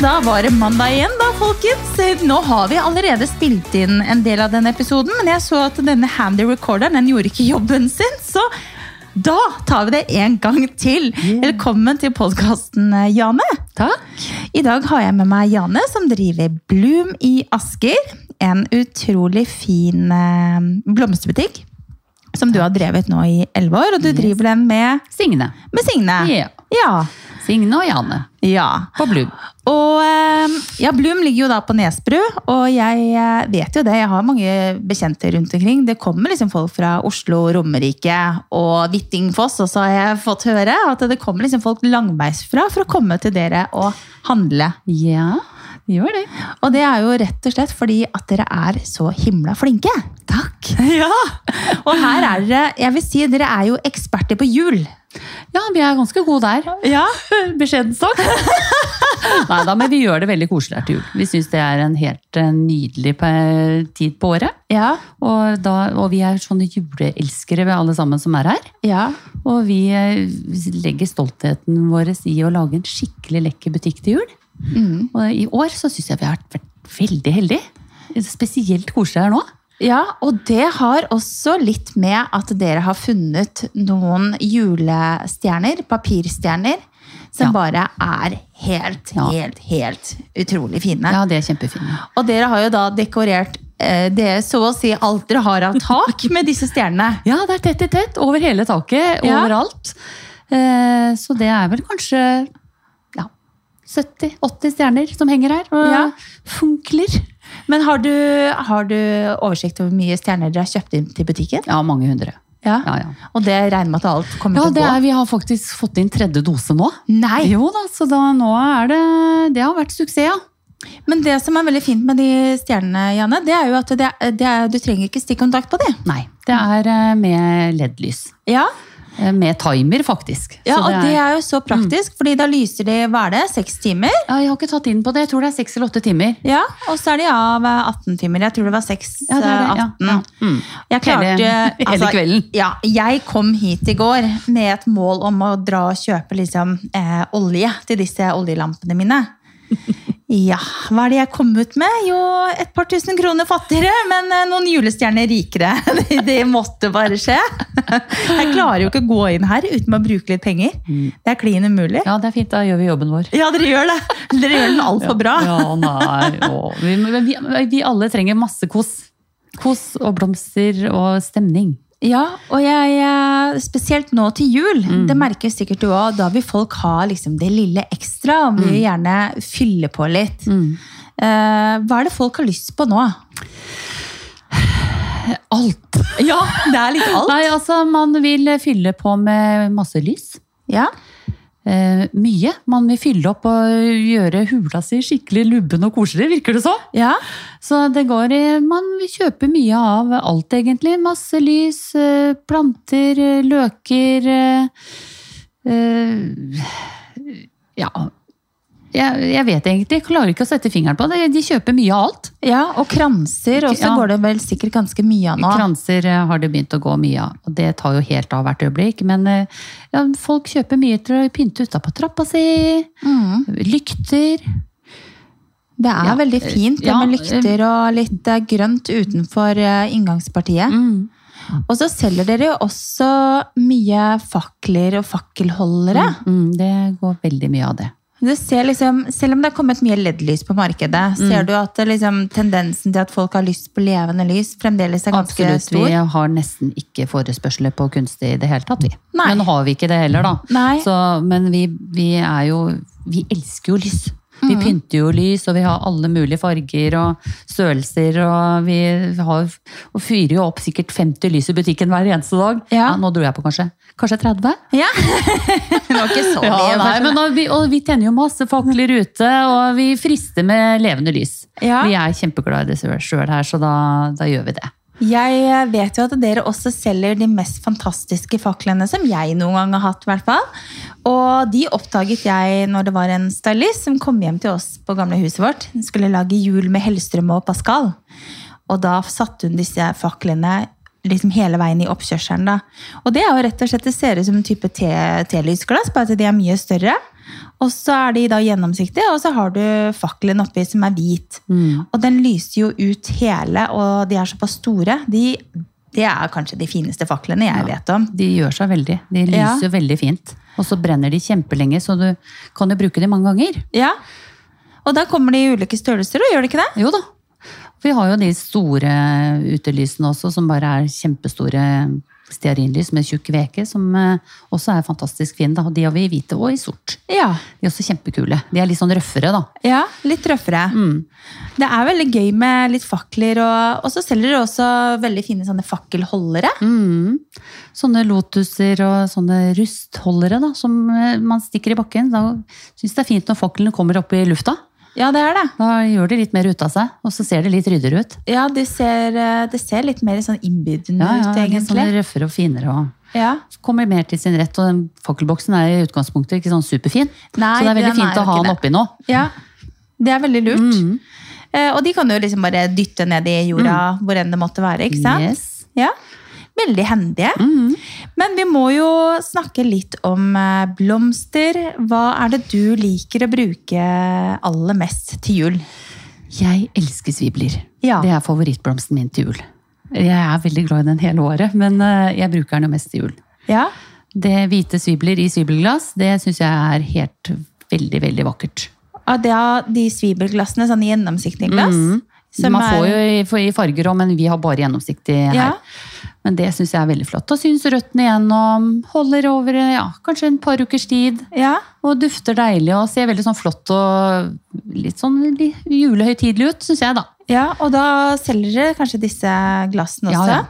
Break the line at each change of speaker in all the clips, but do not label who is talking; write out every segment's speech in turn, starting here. da var det mandag igjen, da, folkens. Eh, Nå har vi allerede spilt inn en del av denne episoden, men jeg så at denne handy recorderen den gjorde ikke jobben sin, så da tar vi det en gang til. Velkommen til podkasten, Jane.
Takk.
I dag har jeg med meg Jane, som driver Bloom i Asker. En utrolig fin eh, blomsterbutikk som du har drevet nå i elleve år. Og du
Yes.
driver den med,
Signe.
med Signe.
Ja.
Ja.
Signe og Jane
ja.
på Blum.
Og eh, ja, Blum ligger jo da på Nesbru, og jeg eh, vet jo det. Jeg har mange bekjente rundt omkring. Det kommer liksom folk fra Oslo, Romerike og Hvittingfoss, og så har jeg fått høre at det kommer liksom folk langveisfra for å komme til dere og handle.
Ja, gjør det.
Og det er jo rett og slett fordi at dere er så himla flinke. Takk! Ja! Og her er dere, jeg vil si, dere er jo eksperter på jul.
Ja, vi er ganske gode der.
Ja,
Beskjedent sagt. Nei da, men vi gjør det veldig koselig her til jul. Vi syns det er en helt eh, nydelig pe- tid på året.
ja,
Og, da, og vi er sånne juleelskere, vi alle sammen som er her.
ja.
Og vi eh, legger stoltheten vår i å lage en skikkelig lekker butikk til jul.
Mm.
Og i år så syns jeg vi har vært veldig heldige. Spesielt koselig her nå.
Ja, og det har også litt med at dere har funnet noen julestjerner, papirstjerner, som
Ja.
bare er helt,
Ja.
helt, helt utrolig fine.
Ja, det er kjempefint.
Og dere har jo da dekorert eh, det, så å si alt dere har av tak med disse stjernene.
Ja, det er tett i tett over hele taket,
Ja.
overalt. Eh, så det er vel kanskje ja, 70-80 stjerner som henger her og
Ja.
funkler.
Men har du, har du oversikt over hvor mye stjerner dere har kjøpt inn til butikken?
Ja, mange hundre.
Ja.
Ja, ja.
Og det regner med at alt kommer
ja
til å
det
gå?
er, vi har faktisk fått inn tredje dose nå.
Nei!
Jo da, så da, nå er det Det har vært suksess, ja.
Men det som er veldig fint med de stjernene, Janne, det er jo at det, det er, du trenger ikke stikkontakt på de.
Nei. Det er eh, med LED-lys.
Ja,
Eh, Med timer, faktisk.
Ja,
Så Mm.
og det er jo så praktisk, fordi da lyser de, hva er det, seks timer?
ja, jeg har ikke tatt inn på det. Jeg tror det er seks eller åtte timer.
Ja, og så er de av eh, 18 timer. Jeg tror det var seks,
Ja, det er det,
eh,
ja.
18.
Ja. Mm.
Jeg klarte, altså,
Hele- hele kvelden.
Ja, jeg kom hit i går med et mål om å dra og kjøpe liksom, eh, olje til disse oljelampene mine. Ja, hva er det jeg kom ut med? Jo, et par tusen kroner fattigere, men eh, noen julestjerner rikere. Det- Det måtte bare skje. Jeg klarer jo ikke å gå inn her uten å bruke litt penger.
Mm.
Det er klin umulig.
Ja, det er fint. Da gjør vi jobben vår.
Ja, dere gjør det. Dere gjør den altfor bra.
Ja, nei. å, Vi, men vi, vi alle trenger masse kos. Kos og blomster og stemning.
Ja, og jeg, eh, spesielt nå til jul, det merker sikkert du òg, da vil folk ha liksom det lille ekstra og vil gjerne fylle på litt.
Mm.
Eh, hva er det folk har lyst på nå?
Alt.
Ja, det er litt alt.
Nei, altså, man vil fylle på med masse lys.
Ja,
Eh, mye. Man vil fylle opp og gjøre hula si skikkelig lubben og koselig, virker det så.
ja,
Så det går i Man vil kjøpe mye av alt, egentlig. Masse lys, eh, planter, eh, løker eh, eh, Ja. Jeg, jeg vet egentlig. Jeg klarer ikke å sette fingeren på det. De kjøper mye av alt.
ja og kranser også
Ja.
går det vel sikkert ganske mye av nå.
Kranser eh, har det begynt å gå mye av, og det tar jo helt av hvert øyeblikk. Men eh, ja, folk kjøper mye til å pynte utapå trappa si.
Mm.
Lykter.
Det er
Ja.
veldig fint det
Ja,
med lykter og litt eh, grønt utenfor eh, inngangspartiet. Og så selger dere jo også mye fakler og fakkelholdere.
Mm, det går veldig mye av det.
Du ser liksom, selv om det er kommet mye LED-lys på markedet,
Mm.
ser du at det liksom, tendensen til at folk har lyst på levende lys, fremdeles er ganske
Absolutt.
stor?
Vi har nesten ikke forespørsler på kunstig i det hele tatt, vi.
Nei.
Men har vi ikke det heller, da.
Nei.
Så, men vi, vi er jo Vi elsker jo lys. Vi
Mm.
pynter jo lys, og vi har alle mulige farger og størrelser. Og vi har, og fyrer jo opp sikkert 50 lys i butikken hver eneste dag.
Ja.
nå dro jeg på kanskje kanskje 30?
Ja! det var ikke så mye.
Ja, nei,
kanskje.
men da, vi, og vi tenner jo masse fakler ute, og vi frister med levende lys.
Ja.
Vi er kjempeglade i det sjøl her, så da, da gjør vi det.
Jeg eh, vet jo at dere også selger de mest fantastiske faklene som jeg noen gang har hatt. i hvert fall. Og de oppdaget jeg når det var en stylist som kom hjem til oss på gamle huset vårt. Hun skulle lage jul med Hellstrøm og Pascal. Og da satte hun disse faklene liksom hele veien i oppkjørselen. da. Og det er jo rett og slett, det ser ut som en type te- telysglass, bare at de er mye større. Og så er de da gjennomsiktige, og så har du fakkelen oppi som er hvit.
Mm.
Og den lyser jo ut hele, og de er såpass store. De, det er kanskje de fineste faklene jeg vet om.
De gjør seg veldig. De
Ja.
lyser jo veldig fint. Og så brenner de kjempelenge, så du kan jo bruke de mange ganger.
Ja. Og da kommer de i ulike størrelser, og gjør de ikke det?
Jo da. Vi har jo de store utelysene også, som bare er kjempestore stearinlys med tjukk veke, som eh, også er fantastisk fine. da. De har vi i hvite og i sort.
Ja.
De er også kjempekule. De er litt sånn røffere, da.
ja litt røffere.
Mm.
Det er veldig gøy med litt fakler, og, og så selger dere også veldig fine sånne fakkelholdere.
Mm. Sånne lotuser og sånne rustholdere da, som eh, man stikker i bakken. Da syns det er fint når faklene kommer opp i lufta.
Ja, det er det.
Da gjør de litt mer ut av seg, og så ser det litt ryddigere ut.
Ja, det ser, eh, det ser litt mer sånn innbydende
Ja, ja,
ut,
litt
egentlig.
sånn røffere og finere. Og
Ja.
kommer mer til sin rett, og den fakkelboksen er i utgangspunktet ikke sånn superfin.
Nei,
så det er veldig
den
fint
er
å
jo
ha
ikke
den oppi nå.
ja, det er veldig lurt.
Mm.
Eh, og de kan jo liksom bare dytte ned i jorda hvor enn det måtte være, ikke sant?
Mm. Yes.
Ja, veldig hendige.
Mm.
Men vi må jo snakke litt om eh, blomster. Hva er det du liker å bruke aller mest til jul?
Jeg elsker svibler.
Ja.
Det er favorittblomsten min til jul. Jeg er veldig glad i den hele året, men eh, jeg bruker den jo mest til jul.
Ja,
Det hvite svibler i svibelglass, det syns jeg er helt veldig, veldig vakkert.
av det, de svibelglassene, sånn gjennomsiktige glass.
Mm.
som
Man får
er-
jo i, for- i farger òg, men vi har bare gjennomsiktig her.
Ja.
Men det syns jeg er veldig flott. Da syns røttene igjennom, holder over ja, kanskje en par ukers tid.
Ja,
Og dufter deilig og ser veldig sånn flott og litt sånn li- julehøytidelig ut, syns jeg, da.
ja, og da selger dere kanskje disse glassene
Ja,
også?
ja.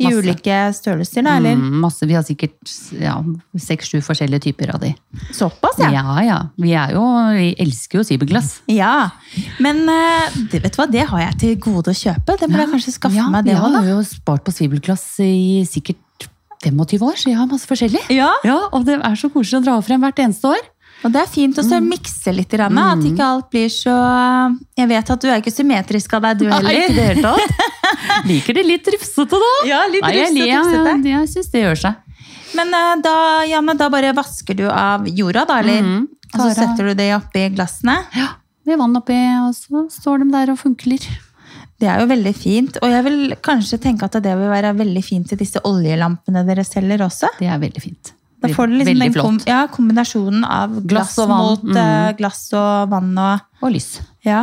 I
Masse.
ulike størrelser, da, eller?
Mm, masse, vi har sikkert ja, seks-sju forskjellige typer av de.
Såpass, ja.
Ja, ja. Vi, er jo, vi elsker jo sibelglass.
Ja, men eh, det, vet du hva, det har jeg til gode å kjøpe. Det må jeg kanskje skaffe
ja,
meg det
jeg
òg, da.
har jo spart på svibelglass i sikkert 25 år, så jeg har masse forskjellig.
Ja,
Ja, og det er så koselig å dra frem hvert eneste år.
og det er fint også
Mm.
å mikse litt, grann, at ikke alt blir så eh, Jeg vet at du er ikke symmetrisk av deg, du heller.
ikke det hele tatt. Liker det litt rufsete da.
Ja, litt
Nei, jeg,
rufsete,
jeg, jeg,
rufsete.
syns det gjør seg.
Men eh, da, Janne, da bare vasker du av jorda, da, eller?
Mhm.
Og så
Tar av-
setter du det oppi glassene.
Ja, Med vann oppi, og så står de der og funkler.
Det er jo veldig fint. Og jeg vil kanskje tenke at det vil være veldig fint til disse oljelampene dere selger også.
Det er veldig fint.
Da får du liksom
veldig
den kom,
flott.
ja, kombinasjonen av glass,
Glass og vann. Mm.
mot eh, glass og vann og
Og lys.
Ja.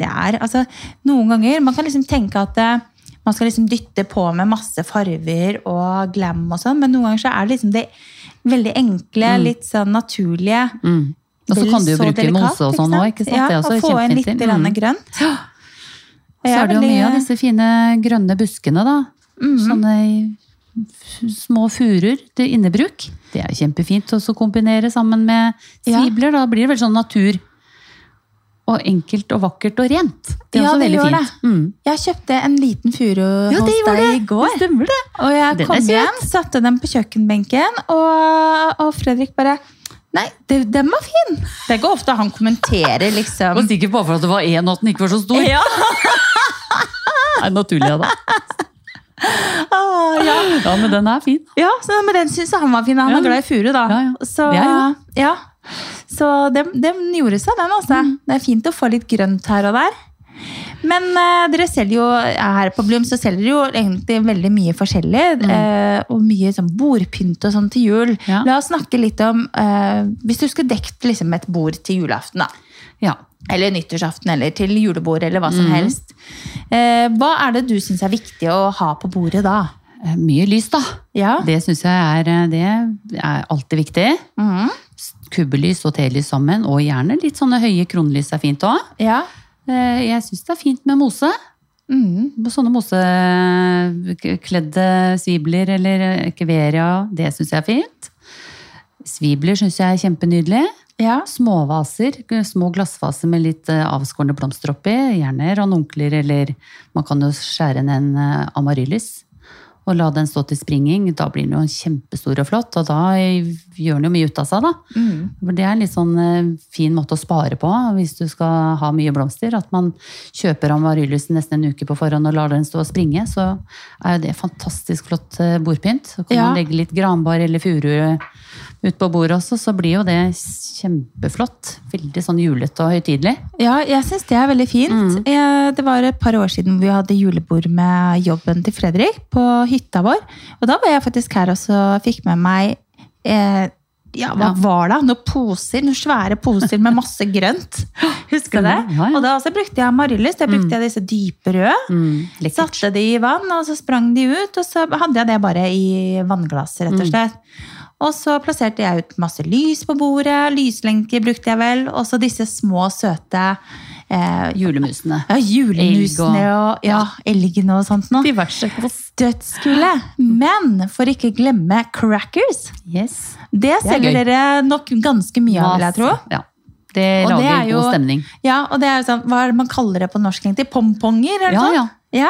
Det er altså Noen ganger Man kan liksom tenke at eh, man skal liksom dytte på med masse farger og glam og sånn, men noen ganger så er det liksom det veldig enkle, litt sånn naturlige.
Mm. Og så
vel
kan du jo bruke
delikat,
mose og sånn òg, ikke sant?
Ja,
det er også
og få inn
kjempefint.
litt
Mm.
grann grønt.
Og så
Jeg
er det jo
veldig- eh, Mhm.
mye av disse fine grønne buskene, da. Sånne f- små furer til innebruk. Det er jo kjempefint å så kombinere sammen med
Ja.
svibler. Da blir det veldig sånn natur. Og enkelt og vakkert og rent. Det er
Ja,
også
det
veldig
gjør
fint. Mm.
Jeg kjøpte en liten furu hos deg i går.
Stemmer det.
Og jeg
Den
kom
er søt.
hjem, satte den på kjøkkenbenken, og, og Fredrik bare Nei, det, den var fin! Det er ikke ofte han kommenterer,
Jeg var
liksom.
sikker på for at det var én og at den ikke var så stor.
Ja,
Det er naturlig, ja da.
ah, ja.
Ja, men den er fin.
ja så, men den syns han var fin. og Han
Ja.
er glad i furu, da.
Ja, ja.
Så,
Det er jo
ja. så den, den gjorde seg, den, altså.
Mm.
Det er fint å få litt grønt her og der. Men eh, dere selger jo her på Blum så selger dere jo egentlig veldig mye forskjellig. eh, og mye sånn bordpynt og sånn til jul.
Mm. Ja.
La oss snakke litt om eh, Hvis du skulle dekt liksom, et bord til julaften, da.
Ja.
Eller nyttårsaften, eller til julebord, eller hva
Mm.
som helst. Eh, hva er det du syns er viktig å ha på bordet da?
Eh, Mye lys, da.
Ja.
Det syns jeg er, eh, det er alltid viktig.
Mhm.
Kubbelys og telys sammen, og gjerne litt sånne høye kronlys er fint òg.
ja.
Eh, Jeg syns det er fint med mose.
Mhm.
Sånne mosekledde svibler eller kveria, det syns jeg er fint. Svibler syns jeg er kjempenydelig.
ja.
Småvaser, eh, små glassvaser med litt eh, avskårne blomster oppi. Gjerne ranunkler, eller man kan jo skjære ned en eh, amaryllis og la den stå til springing, da blir den jo kjempestor og flott, og da gjør den jo mye ut av seg, da.
Mm.
For Det er en litt sånn eh, fin måte å spare på hvis du skal ha mye blomster. At man kjøper amaryllis nesten en uke på forhånd og lar den stå og springe. Så er jo det fantastisk flott eh, bordpynt. Så kan
Ja.
man legge litt granbar eller furu ut på bordet også, så blir jo det kjempeflott. Veldig sånn julete og høytidelig.
Ja, jeg syns det er veldig fint.
Mm.
Eh, Det var et par år siden vi hadde julebord med jobben til Fredrik på hytta vår. Og da var jeg faktisk her også og fikk med meg eh, ja, hva
Ja.
var det? Noen poser, noen svære poser med masse grønt. Husker du det?
Stemmer, ja, Mm. ja.
Og da også brukte jeg amaryllis. Da brukte jeg disse dype røde.
Mm, lekkert.
Satte de i vann, og så sprang de ut, og så hadde jeg det bare i vannglasset,
Mm.
rett og slett. Og så plasserte jeg ut masse lys på bordet, lyslenker brukte jeg vel, og så disse små, søte eh,
Julemusene.
ja, julemusene og ja, elgen og sånt noe.
Diverse kos.
Dødskule. Men for ikke glemme crackers.
Yes.
Det
er
selger
gøy.
dere nok ganske mye av, vil jeg tro.
Ja. Det
Og det
lager
er jo-
god stemning.
Ja, og det er jo sånn, Hva er det man kaller det på norsk? egentlig? Pomponger? eller
Ja,
noe
ja.
sånt? Ja.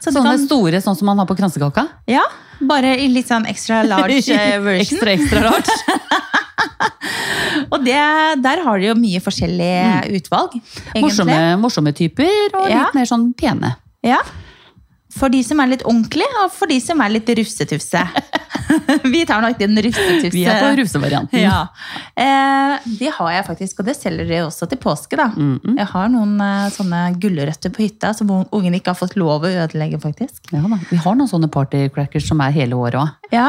Så du
Sånne
kan,
store, sånn som man har på kransekaka.
ja, Bare i litt sånn extra large eh, version.
Ekstra, ekstra large.
Og det, der har de jo mye forskjellig utvalg. egentlig.
Mm. Morsomme, morsomme typer, og
Ja.
litt mer sånn pene.
Ja. For de som er litt ordentlige, og for de som er litt rufsetufse. Vi tar nok den rufsetufse.
Vi er på rusevarianten.
Ja. Eh, de har jeg faktisk, og det selger de også til påske. da. Jeg har noen eh, sånne gulrøtter på hytta som ungen ikke har fått lov å ødelegge. faktisk.
Ja da. Vi har noen sånne partycrackers som er hele året òg.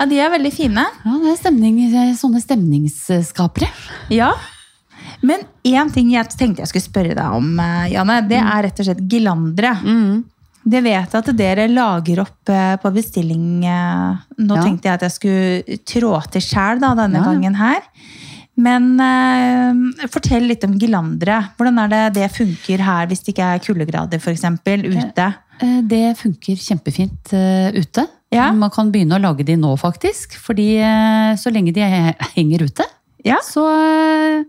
Ja, ja de er veldig fine.
Ja, det er stemning,
eh,
sånne stemningsskapere.
Ja. Men én ting jeg tenkte jeg skulle spørre deg om, eh, Janne, det
Mm.
er rett og slett gelandere. Det vet jeg at dere lager opp eh, på bestilling. eh, Nå
Ja.
tenkte jeg at jeg skulle trå til sjæl da, denne
Ja, ja.
gangen her. Men eh, fortell litt om gelandere. Hvordan er det det funker her hvis det ikke er kuldegrader f.eks. ute?
Eh, Det funker kjempefint eh, ute.
Ja.
Man kan begynne å lage de nå, faktisk. Fordi eh, så lenge de he- henger ute,
Ja.
så, eh,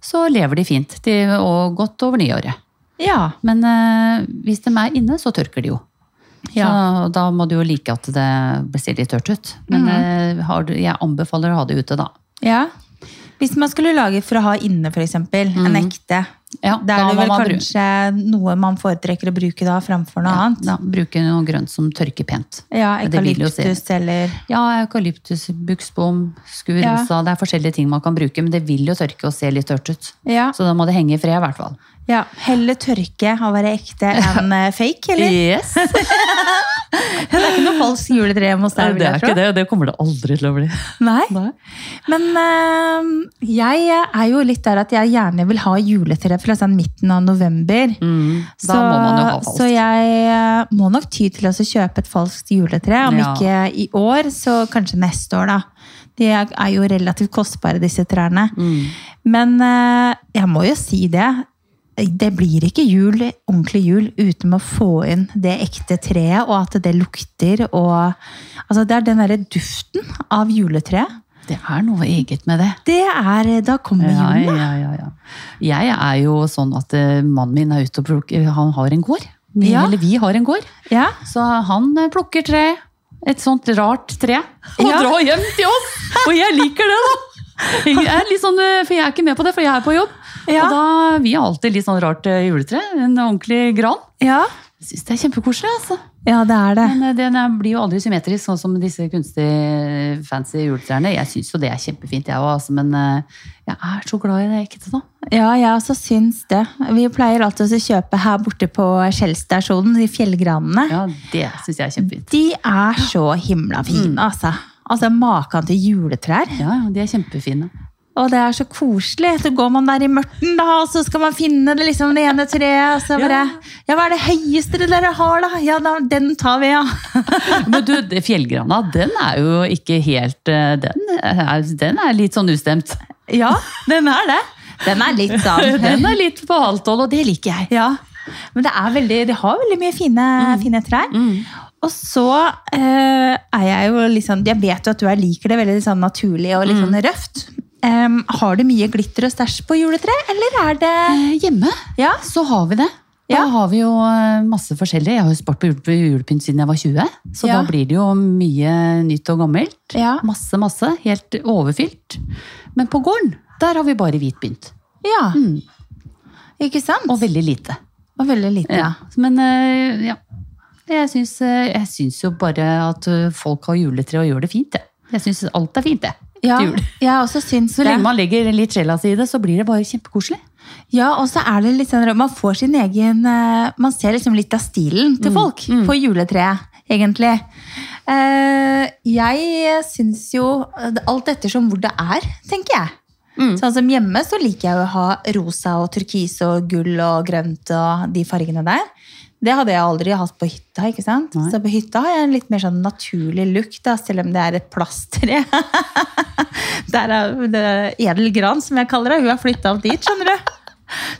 så lever de fint. De, og godt over nyåret.
Ja.
Men eh, hvis de er inne, så tørker de jo.
Ja.
Så, da må du jo like at det blir litt tørt ut.
Mhm.
Men eh, har du, jeg anbefaler å ha det ute, da.
ja. Hvis man skulle lage for å ha inne f.eks. eksempel en
Mm.
ekte,
Ja,
Det er
da
det
må
vel
man bru-
kanskje noe man foretrekker å bruke da, framfor noe
ja,
annet.
da, bruke noe grønt som tørker pent.
Ja,
Men det vil jo se-
Eukalyptus eller
Ja, eukalyptus, buksbom, skur,
Ja.
rosa. Det er forskjellige ting man kan bruke, men det vil jo tørke og se litt tørt ut.
ja,
Så da må det henge i fred, i hvert fall.
ja. Heller tørke og være ekte enn eh, fake, eller?
Yes!
Det er ikke noe falskt juletre hjemme hos
Det
deg,
er,
vil jeg
ikke
tro.
det, og det kommer det aldri til å bli.
Nei. Men eh, jeg er jo litt der at jeg gjerne vil ha juletre fra sånn midten av november.
Mm. Da må man jo ha falskt.
så jeg eh, må nok ty til å så kjøpe et falskt juletre. Om
Ja.
ikke i år, så kanskje neste år, da. De er er jo relativt kostbare, disse trærne.
Mm.
Men eh, jeg må jo si det. Det blir ikke jul, ordentlig jul uten å få inn det ekte treet, og at det lukter og Altså, det er den derre duften av juletreet.
Det er noe eget med det.
Det er eh, Da kommer
Ja,
julen, da.
ja, ja, ja. Jeg er jo sånn at eh, mannen min er ute og plukker Han har en gård. Vi,
Ja.
Eller vi har en gård.
Ja.
Så han eh, plukker tre. Et sånt rart tre. Og
Ja.
drar hjem til oss! Og jeg liker det, da! Jeg er litt sånn, eh, for jeg er ikke med på det, for jeg er på jobb.
Ja.
Og da, Vi har alltid litt sånn rart eh, juletre. En ordentlig gran.
Ja.
Jeg Syns det er kjempekoselig, altså.
ja, det er det.
Men eh, den er- blir jo aldri symmetrisk, sånn som disse kunstig fancy juletrærne. Jeg syns jo det er kjempefint, jeg òg, altså, men eh, jeg er så glad i det ekte, da.
Ja, jeg også syns det. Vi pleier alltid å kjøpe her borte på Skjellstasjonen, de fjellgranene.
Ja, det syns jeg er kjempefint.
De er så himla fine,
Mm.
altså. Altså maken til juletrær.
Ja, ja, de er kjempefine.
Og det er så koselig. Så går man der i mørten, da, og så skal man finne det, liksom, det ene treet. Og så bare
Ja.
Ja, hva er det høyeste det dere har, da? Ja, da, den tar vi, ja.
Men du, det- fjellgrana, den er jo ikke helt eh, Den er, den er litt sånn ustemt.
Ja, den er det. Den er litt sånn.
Den er litt på halvt hold, og det liker jeg.
Ja. Men det er veldig, de har veldig mye fine,
Mm.
fine trær. Og så eh, er jeg jo liksom Jeg vet jo at du er liker det veldig sånn naturlig og
Mm.
litt sånn røft. Em, har du mye glitter og stæsj på juletre, eller er det
Eh, Hjemme
Ja?
så har vi det. Da
Ja.
har vi jo eh, masse forskjellig. Jeg har jo spart på jul- på julepynt siden jeg var 20, så
Ja.
da blir det jo mye nytt og gammelt.
Ja.
Masse, masse. Helt overfylt. Men på gården, der har vi bare hvit pynt.
ja.
Mm.
Ikke sant?
Og veldig lite.
Og veldig lite.
Ja. Men eh, ja. Jeg syns, eh, jeg syns jo bare at eh, folk har juletre og gjør det fint, jeg. Jeg syns alt er fint, jeg.
Ja,
til jul.
jeg også syns
Så
det.
lenge man legger litt sjela si i det, så blir det bare kjempekoselig.
Ja, og så er det litt sånn, man får sin egen eh, Man ser liksom litt av stilen til folk på juletreet, egentlig. Eh, Jeg syns jo alt ettersom hvor det er, tenker jeg. Sånn som hjemme så liker jeg jo å ha rosa og turkis og gull og grønt og de fargene der. Det hadde jeg aldri hatt på hytta. ikke sant?
Nei.
Så på hytta har jeg en litt mer sånn naturlig look, da, selv om det er et plasttre. Der er det Edel Gran, som jeg kaller det. Hun har flytta opp dit, skjønner du.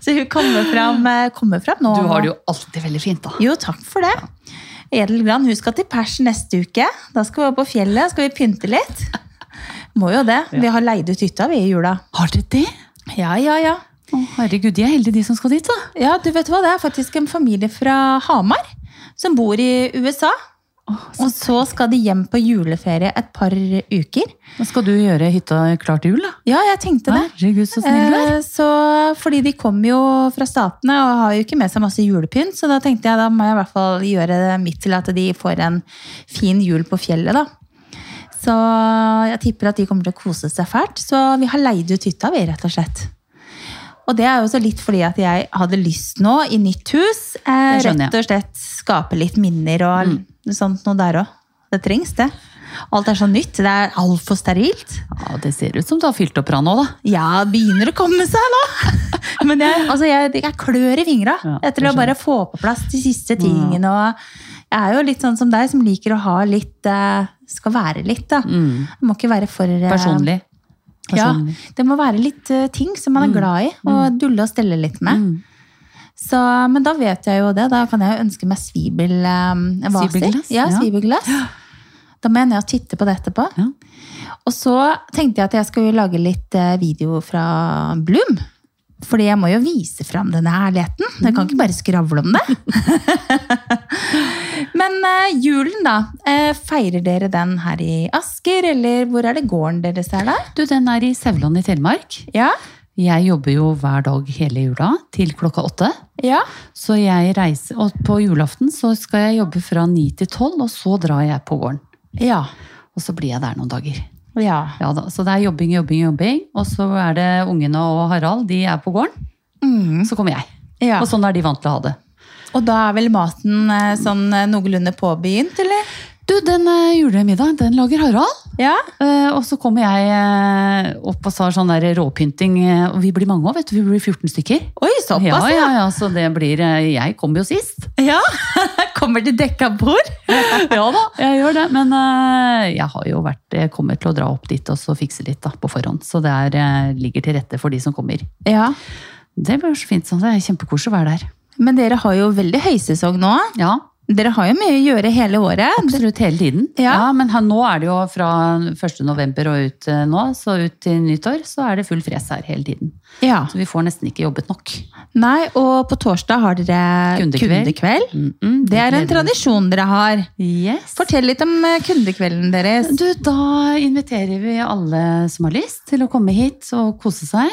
Så hun kommer fram, eh, kommer fram nå.
Du har det jo alltid veldig fint, da.
Jo, takk for det. Edel Gran, hun skal til pers neste uke. Da skal vi opp på fjellet, skal vi pynte litt. Må jo det. Vi har leid ut hytta, vi, i jula.
Har dere det?
Ja, ja, ja.
Å, herregud, de er heldige, de som skal dit, da.
Ja, du vet hva, det er faktisk en familie fra Hamar som bor i USA. Og så skal de hjem på juleferie et par uker.
Nå skal du gjøre hytta klar til jul, da.
Ja, jeg tenkte det.
Herregud, så snill du er.
Eh, Så, fordi de kommer jo fra statene og har jo ikke med seg masse julepynt, så da tenkte jeg da må jeg i hvert fall gjøre mitt til at de får en fin jul på fjellet, da. Så jeg tipper at de kommer til å kose seg fælt. Så vi har leid ut hytta, vi, rett og slett. Og det er jo også litt fordi at jeg hadde lyst nå, i nytt hus, eh,
Det skjønner jeg. Mm.
rett og slett skape litt minner og sånt noe der òg. Det trengs, det. Alt er så nytt. Det er altfor sterilt.
Ja, det ser ut som du har fylt opp bra nå, da.
Ja, begynner å komme seg nå. Men jeg, altså jeg, jeg klør i fingra
Ja, jeg
etter å bare få på plass de siste tingene. Og jeg er jo litt sånn som deg, som liker å ha litt eh, Skal være litt, da. Det må ikke være for eh,
Mm. Personlig.
Ja,
Personlig.
det må være litt eh, ting som man er glad i, og dulle og stelle litt med.
Mm.
Så, men da vet jeg jo det. Da kan jeg jo ønske meg svibelvaser.
Svibelglass,
ja,
ja.
svibelglass. Da må jeg ned og titte på det etterpå.
Ja.
Og så tenkte jeg at jeg skulle lage litt eh, video fra Bloom. Fordi jeg må jo vise fram denne herligheten. Jeg kan ikke bare skravle om det. Men eh, julen, da. eh, feirer dere den her i Asker, eller hvor er det gården deres er, da?
Du, den er i Sauland i Telemark.
Ja.
Jeg jobber jo hver dag hele jula til klokka åtte.
ja.
Så jeg reiser, og på julaften så skal jeg jobbe fra ni til tolv, og så drar jeg på gården.
Ja.
Og så blir jeg der noen dager.
Ja.
Ja da, Så det er jobbing, jobbing, jobbing. Og så er det ungene og Harald, de er på gården.
Mm.
Så kommer jeg.
ja.
Og sånn er de vant til å ha det.
Og da er vel maten eh, sånn eh, noenlunde påbegynt, eller?
Du, den eh, julemiddagen, den lager Harald.
Ja.
Eh, og så kommer jeg eh, opp og så har sånn der råpynting, eh, og vi blir mange òg, vet du. Vi blir 14 stykker.
Oi,
Ja,
såpass,
ja, ja, så det blir eh, Jeg kommer jo sist.
ja. Kommer til dekka bord?
Ja da, jeg gjør det. Men eh, jeg har jo vært, jeg kommer til å dra opp dit og så fikse litt da, på forhånd. Så det er, eh, ligger til rette for de som kommer.
Ja.
Det blir så fint. sånn, Det er kjempekoselig å være der.
Men dere har jo veldig høysesong nå.
Ja,
Dere har jo mye å gjøre hele året.
absolutt hele tiden.
Ja.
men her, nå er det jo fra 1. november og ut eh, nå, så ut til nyttår, så er det full fres her hele tiden.
Ja.
Så vi får nesten ikke jobbet nok.
Nei, og på torsdag har dere
Kundekveld.
kundekveld.
Mm -mm,
Det er en
gleder vi
tradisjon dere har.
Yes.
Fortell litt om eh, kundekvelden deres.
Du, da inviterer vi alle som har lyst til å komme hit og kose seg.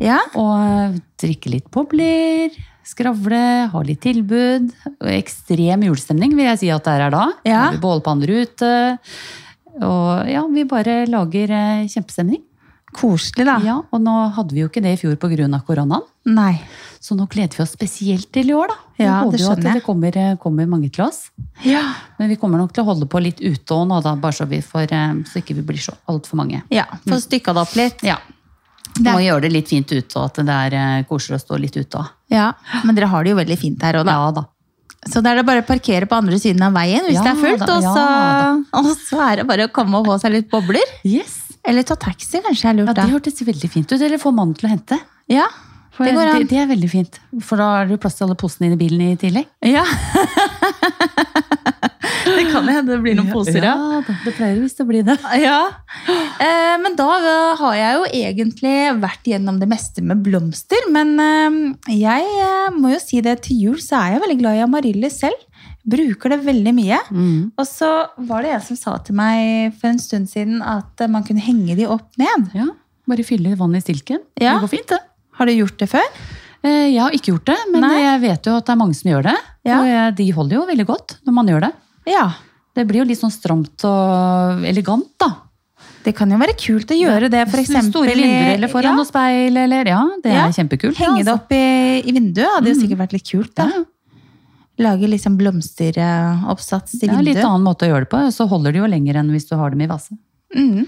Ja,
Og eh, drikke litt bobler, skravle, ha litt tilbud. Og ekstrem julestemning vil jeg si at det her er da.
Ja.
Det er Bålpanner ute. Og ja, vi bare lager eh, kjempestemning.
koselig da.
Ja, og nå hadde vi jo ikke det i fjor pga. koronaen.
Nei.
Så nå gleder vi oss spesielt til i år, da. Vi
Ja,
håper
det
jo at
skjønner jeg.
det kommer, eh, kommer mange til oss.
Ja.
Men vi kommer nok til å holde på litt ute òg nå, da, bare så vi får, eh, så ikke vi blir så altfor mange.
Ja, få stykka det opp litt.
Ja. Må gjøre det litt fint ute, og at det er eh, koselig å stå litt ute òg.
Ja, men dere har det jo veldig fint her også da.
Ja da.
Så da er det bare å parkere på andre siden av veien hvis
Ja
det er fullt,
da,
og så,
ja
og så er det bare å komme og få seg litt bobler.
Yes.
Eller ta taxi, kanskje jeg
Ja,
lurte.
det hørtes veldig fint ut. Eller få mannen til å hente.
Ja,
For
det går an.
Det, det er veldig fint. For da er det jo plass til alle posene inn i bilen i tillegg.
Ja. Det kan hende det blir noen poser, ja.
Ja, da, det pleier visst å bli det.
Ja. Eh, men da eh, har jeg jo egentlig vært gjennom det meste med blomster. Men eh, jeg eh, må jo si det til jul, så er jeg veldig glad i amaryllis selv. Bruker det veldig mye. Og så var det en som sa til meg for en stund siden at eh, man kunne henge de opp ned.
Ja, bare fylle vann i stilken.
Ja.
Det går fint, det.
Har du gjort det før?
Eh, Jeg har ikke gjort det, men
Nei.
jeg vet jo at det er mange som gjør det.
Ja.
Og jeg, de holder jo veldig godt når man gjør det.
Ja.
Det blir jo litt sånn stramt og elegant, da.
Det kan jo være kult å gjøre det, for eksempel.
Store vindbriller foran
ja,
noe speil, eller Ja, det
Ja.
er kjempekult.
Henge det
altså.
opp i, i vinduet hadde jo sikkert vært litt kult. da.
Ja,
Lage liksom blomsteroppsats i
det er en
vinduet.
litt annen måte å gjøre det på, så holder det jo lenger enn hvis du har dem i vase.
Mm.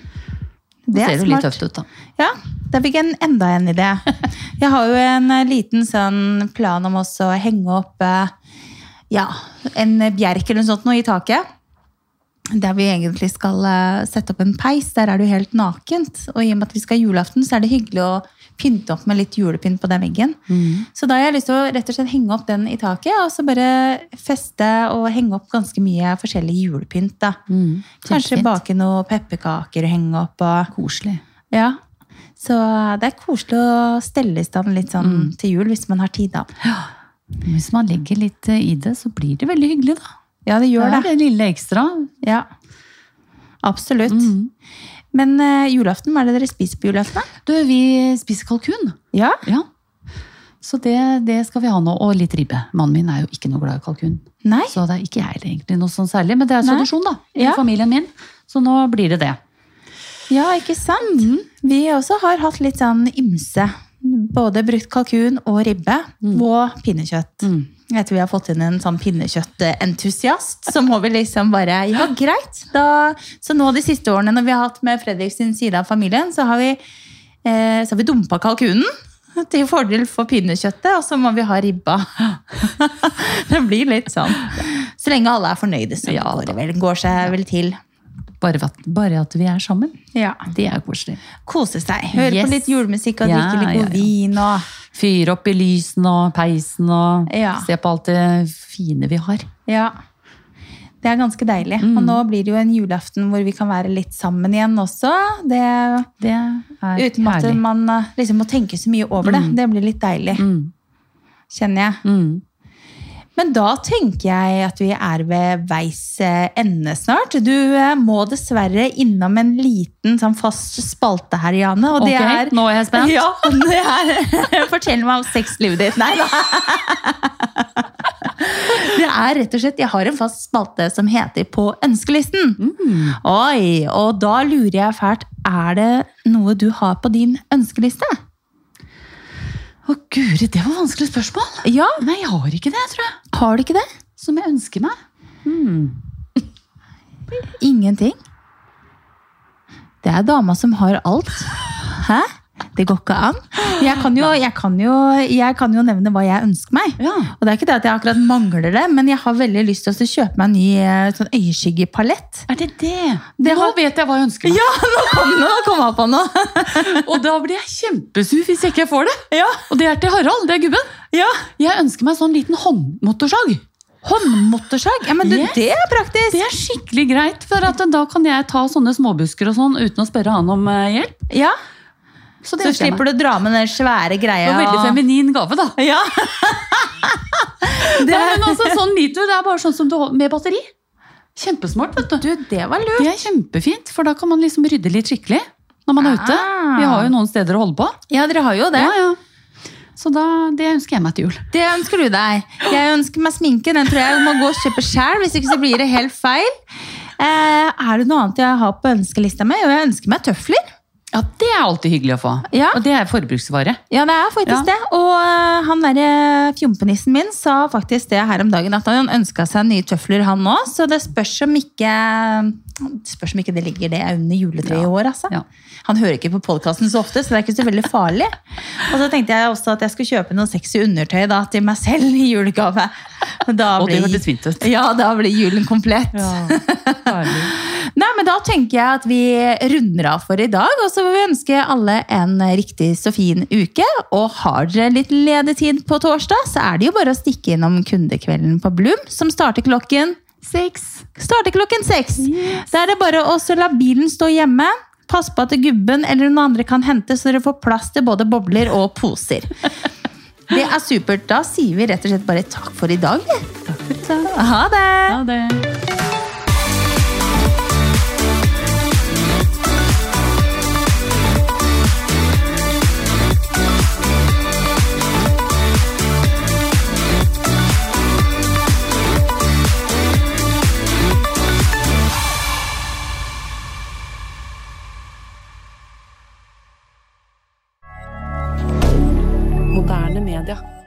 Det
Det
ser
er
jo litt
smart.
tøft ut, da.
Ja, da fikk jeg en- enda en idé. Jeg har jo en eh, liten sånn plan om også å henge opp eh, ja, en bjerk eller noe sånt nå i taket. Der vi egentlig skal eh, sette opp en peis, der er det jo helt nakent. Og i og med at vi skal ha julaften, så er det hyggelig å pynte opp med litt julepynt på den veggen. Så da har jeg lyst til å rett og slett henge opp den i taket, og så bare feste og henge opp ganske mye forskjellig julepynt. da. Kanskje
kjempefint.
bake noen pepperkaker og henge opp. og...
Koselig.
Ja. Så det er koselig å stelle i stand litt sånn til jul hvis man har tid, da.
Hvis man legger litt eh, i det, så blir det veldig hyggelig, da.
Ja, det gjør
det
det.
er det lille ekstra.
Ja. Absolutt.
Mm.
Men eh, julaften, hva er det dere spiser på julaften? da?
Du, vi spiser kalkun.
Ja.
Ja. Så det, det skal vi ha nå. Og litt ribbe. Mannen min er jo ikke noe glad i kalkun.
Nei?
Så det er ikke jeg heller egentlig noe sånn særlig. Men det er
Nei.
tradisjon, da. I
Ja.
familien min. Så nå blir det det.
Ja, ikke sant? Vi også har hatt litt sånn ymse. Både brukt kalkun og ribbe og pinnekjøtt. Jeg tror vi har fått inn en sånn pinnekjøttentusiast. Så må vi liksom bare Ja, greit! Da, så nå de siste årene når vi har hatt med Fredrik sin side av familien, så har vi, eh, så har vi dumpa kalkunen. Til fordel for pinnekjøttet, og så må vi ha ribba. det blir litt sånn. Så lenge alle er fornøyde, så
Ja,
går det vel, går seg vel til.
Bare at, bare at vi er sammen.
Ja
Det er koselig.
kose seg. Høre
Yes.
på litt julemusikk og
Ja,
drikke litt god
ja, ja.
vin. Og,
Fyre opp i lysene og peisen og
Ja.
se på alt det fine vi har.
ja. Det er ganske deilig.
Mm.
Og nå blir det jo en julaften hvor vi kan være litt sammen igjen også. Det,
Det er
uten at
herlig.
man eh, liksom må tenke så mye over det. Det blir litt deilig,
Mm.
kjenner jeg.
Mm.
Men da tenker jeg at vi er ved veis eh, ende snart. Du eh, må dessverre innom en liten sånn fast spalte her, Jane. Og det
Ok,
er
nå er jeg spent.
Ja, det er Fortell meg om sexlivet ditt. Nei da. Det er rett og slett Jeg har en fast spalte som heter På ønskelisten. Mm. Oi, Og da lurer jeg fælt Er det noe du har på din ønskeliste?
Å guri, det var vanskelig spørsmål!
Ja.
Nei, jeg har ikke det, tror jeg.
Har du ikke det?
Som jeg ønsker meg.
Ingenting. Det er dama som har alt. Hæ? Det går ikke an. Jeg kan jo, jeg kan jo, jeg kan jo nevne hva jeg ønsker meg.
Ja.
Og det er ikke det at jeg akkurat mangler det, men jeg har veldig lyst til å kjøpe meg en ny eh, sånn øyeskyggepalett.
Er det det?
Det
nå
har-
vet jeg hva jeg ønsker meg.
Ja, nå kom, nå kom jeg på noe!
Og da blir jeg kjempesur hvis jeg ikke får det.
Ja,
Og det er til Harald, det er gubben.
ja.
Jeg ønsker meg sånn liten håndmotorsag.
Håndmotorsag? Ja, men du,
Yes.
det er praktisk!
Det er skikkelig greit, for at da kan jeg ta sånne småbusker og sånn uten å spørre han om eh, hjelp.
Ja,
Så det
Så
ønsker jeg meg.
slipper du å dra med den svære
Det
greia.
var veldig feminin gave, da.
Ja.
Det er, men altså, sånn liter, det er bare sånn som du holder med batteri. Kjempesmart, vet du.
Du, det var lurt.
Det er kjempefint, for da kan man liksom rydde litt skikkelig når man er ute.
Ah.
Vi har jo noen steder å holde på.
Ja, dere har jo det.
Ja, ja. Så da, det ønsker jeg meg til jul.
Det ønsker du deg. Jeg ønsker meg sminke. Den tror jeg jeg må gå og kjøpe sjøl, hvis ikke så blir det helt feil. Eh, er det noe annet jeg har på ønskelista mi? Jo, jeg ønsker meg tøfler.
Ja, det er alltid hyggelig å få.
Ja.
Og det er forbruksvare.
Ja, det er faktisk
Ja.
det. Og eh, han derre fjompenissen min sa faktisk det her om dagen, at han ønska seg nye tøfler, han òg. Så det spørs om ikke det spørs om ikke det ligger det under juletreet i år, altså.
Ja.
Han hører ikke på podkasten så ofte, så det er ikke så veldig farlig. Og så tenkte jeg også at jeg skulle kjøpe noe sexy undertøy da, til meg selv i julegave. Da
Og det
blir-
hørtes fint ut.
Ja, da blir julen komplett. Nei, men Da tenker jeg at vi runder av for i dag, og så vil vi ønske alle en riktig så fin uke. Og har dere litt ledig tid på torsdag, så er det jo bare å stikke innom kundekvelden på Blum, som starter klokken
Seks.
Starter klokken seks. Da er det bare å også la bilen stå hjemme. Pass på at gubben eller noen andre kan hente, så dere får plass til både bobler og poser. Det er supert. Da sier vi rett og slett bare takk for i dag. vi. Ha det!
Ha det.
Moderne media.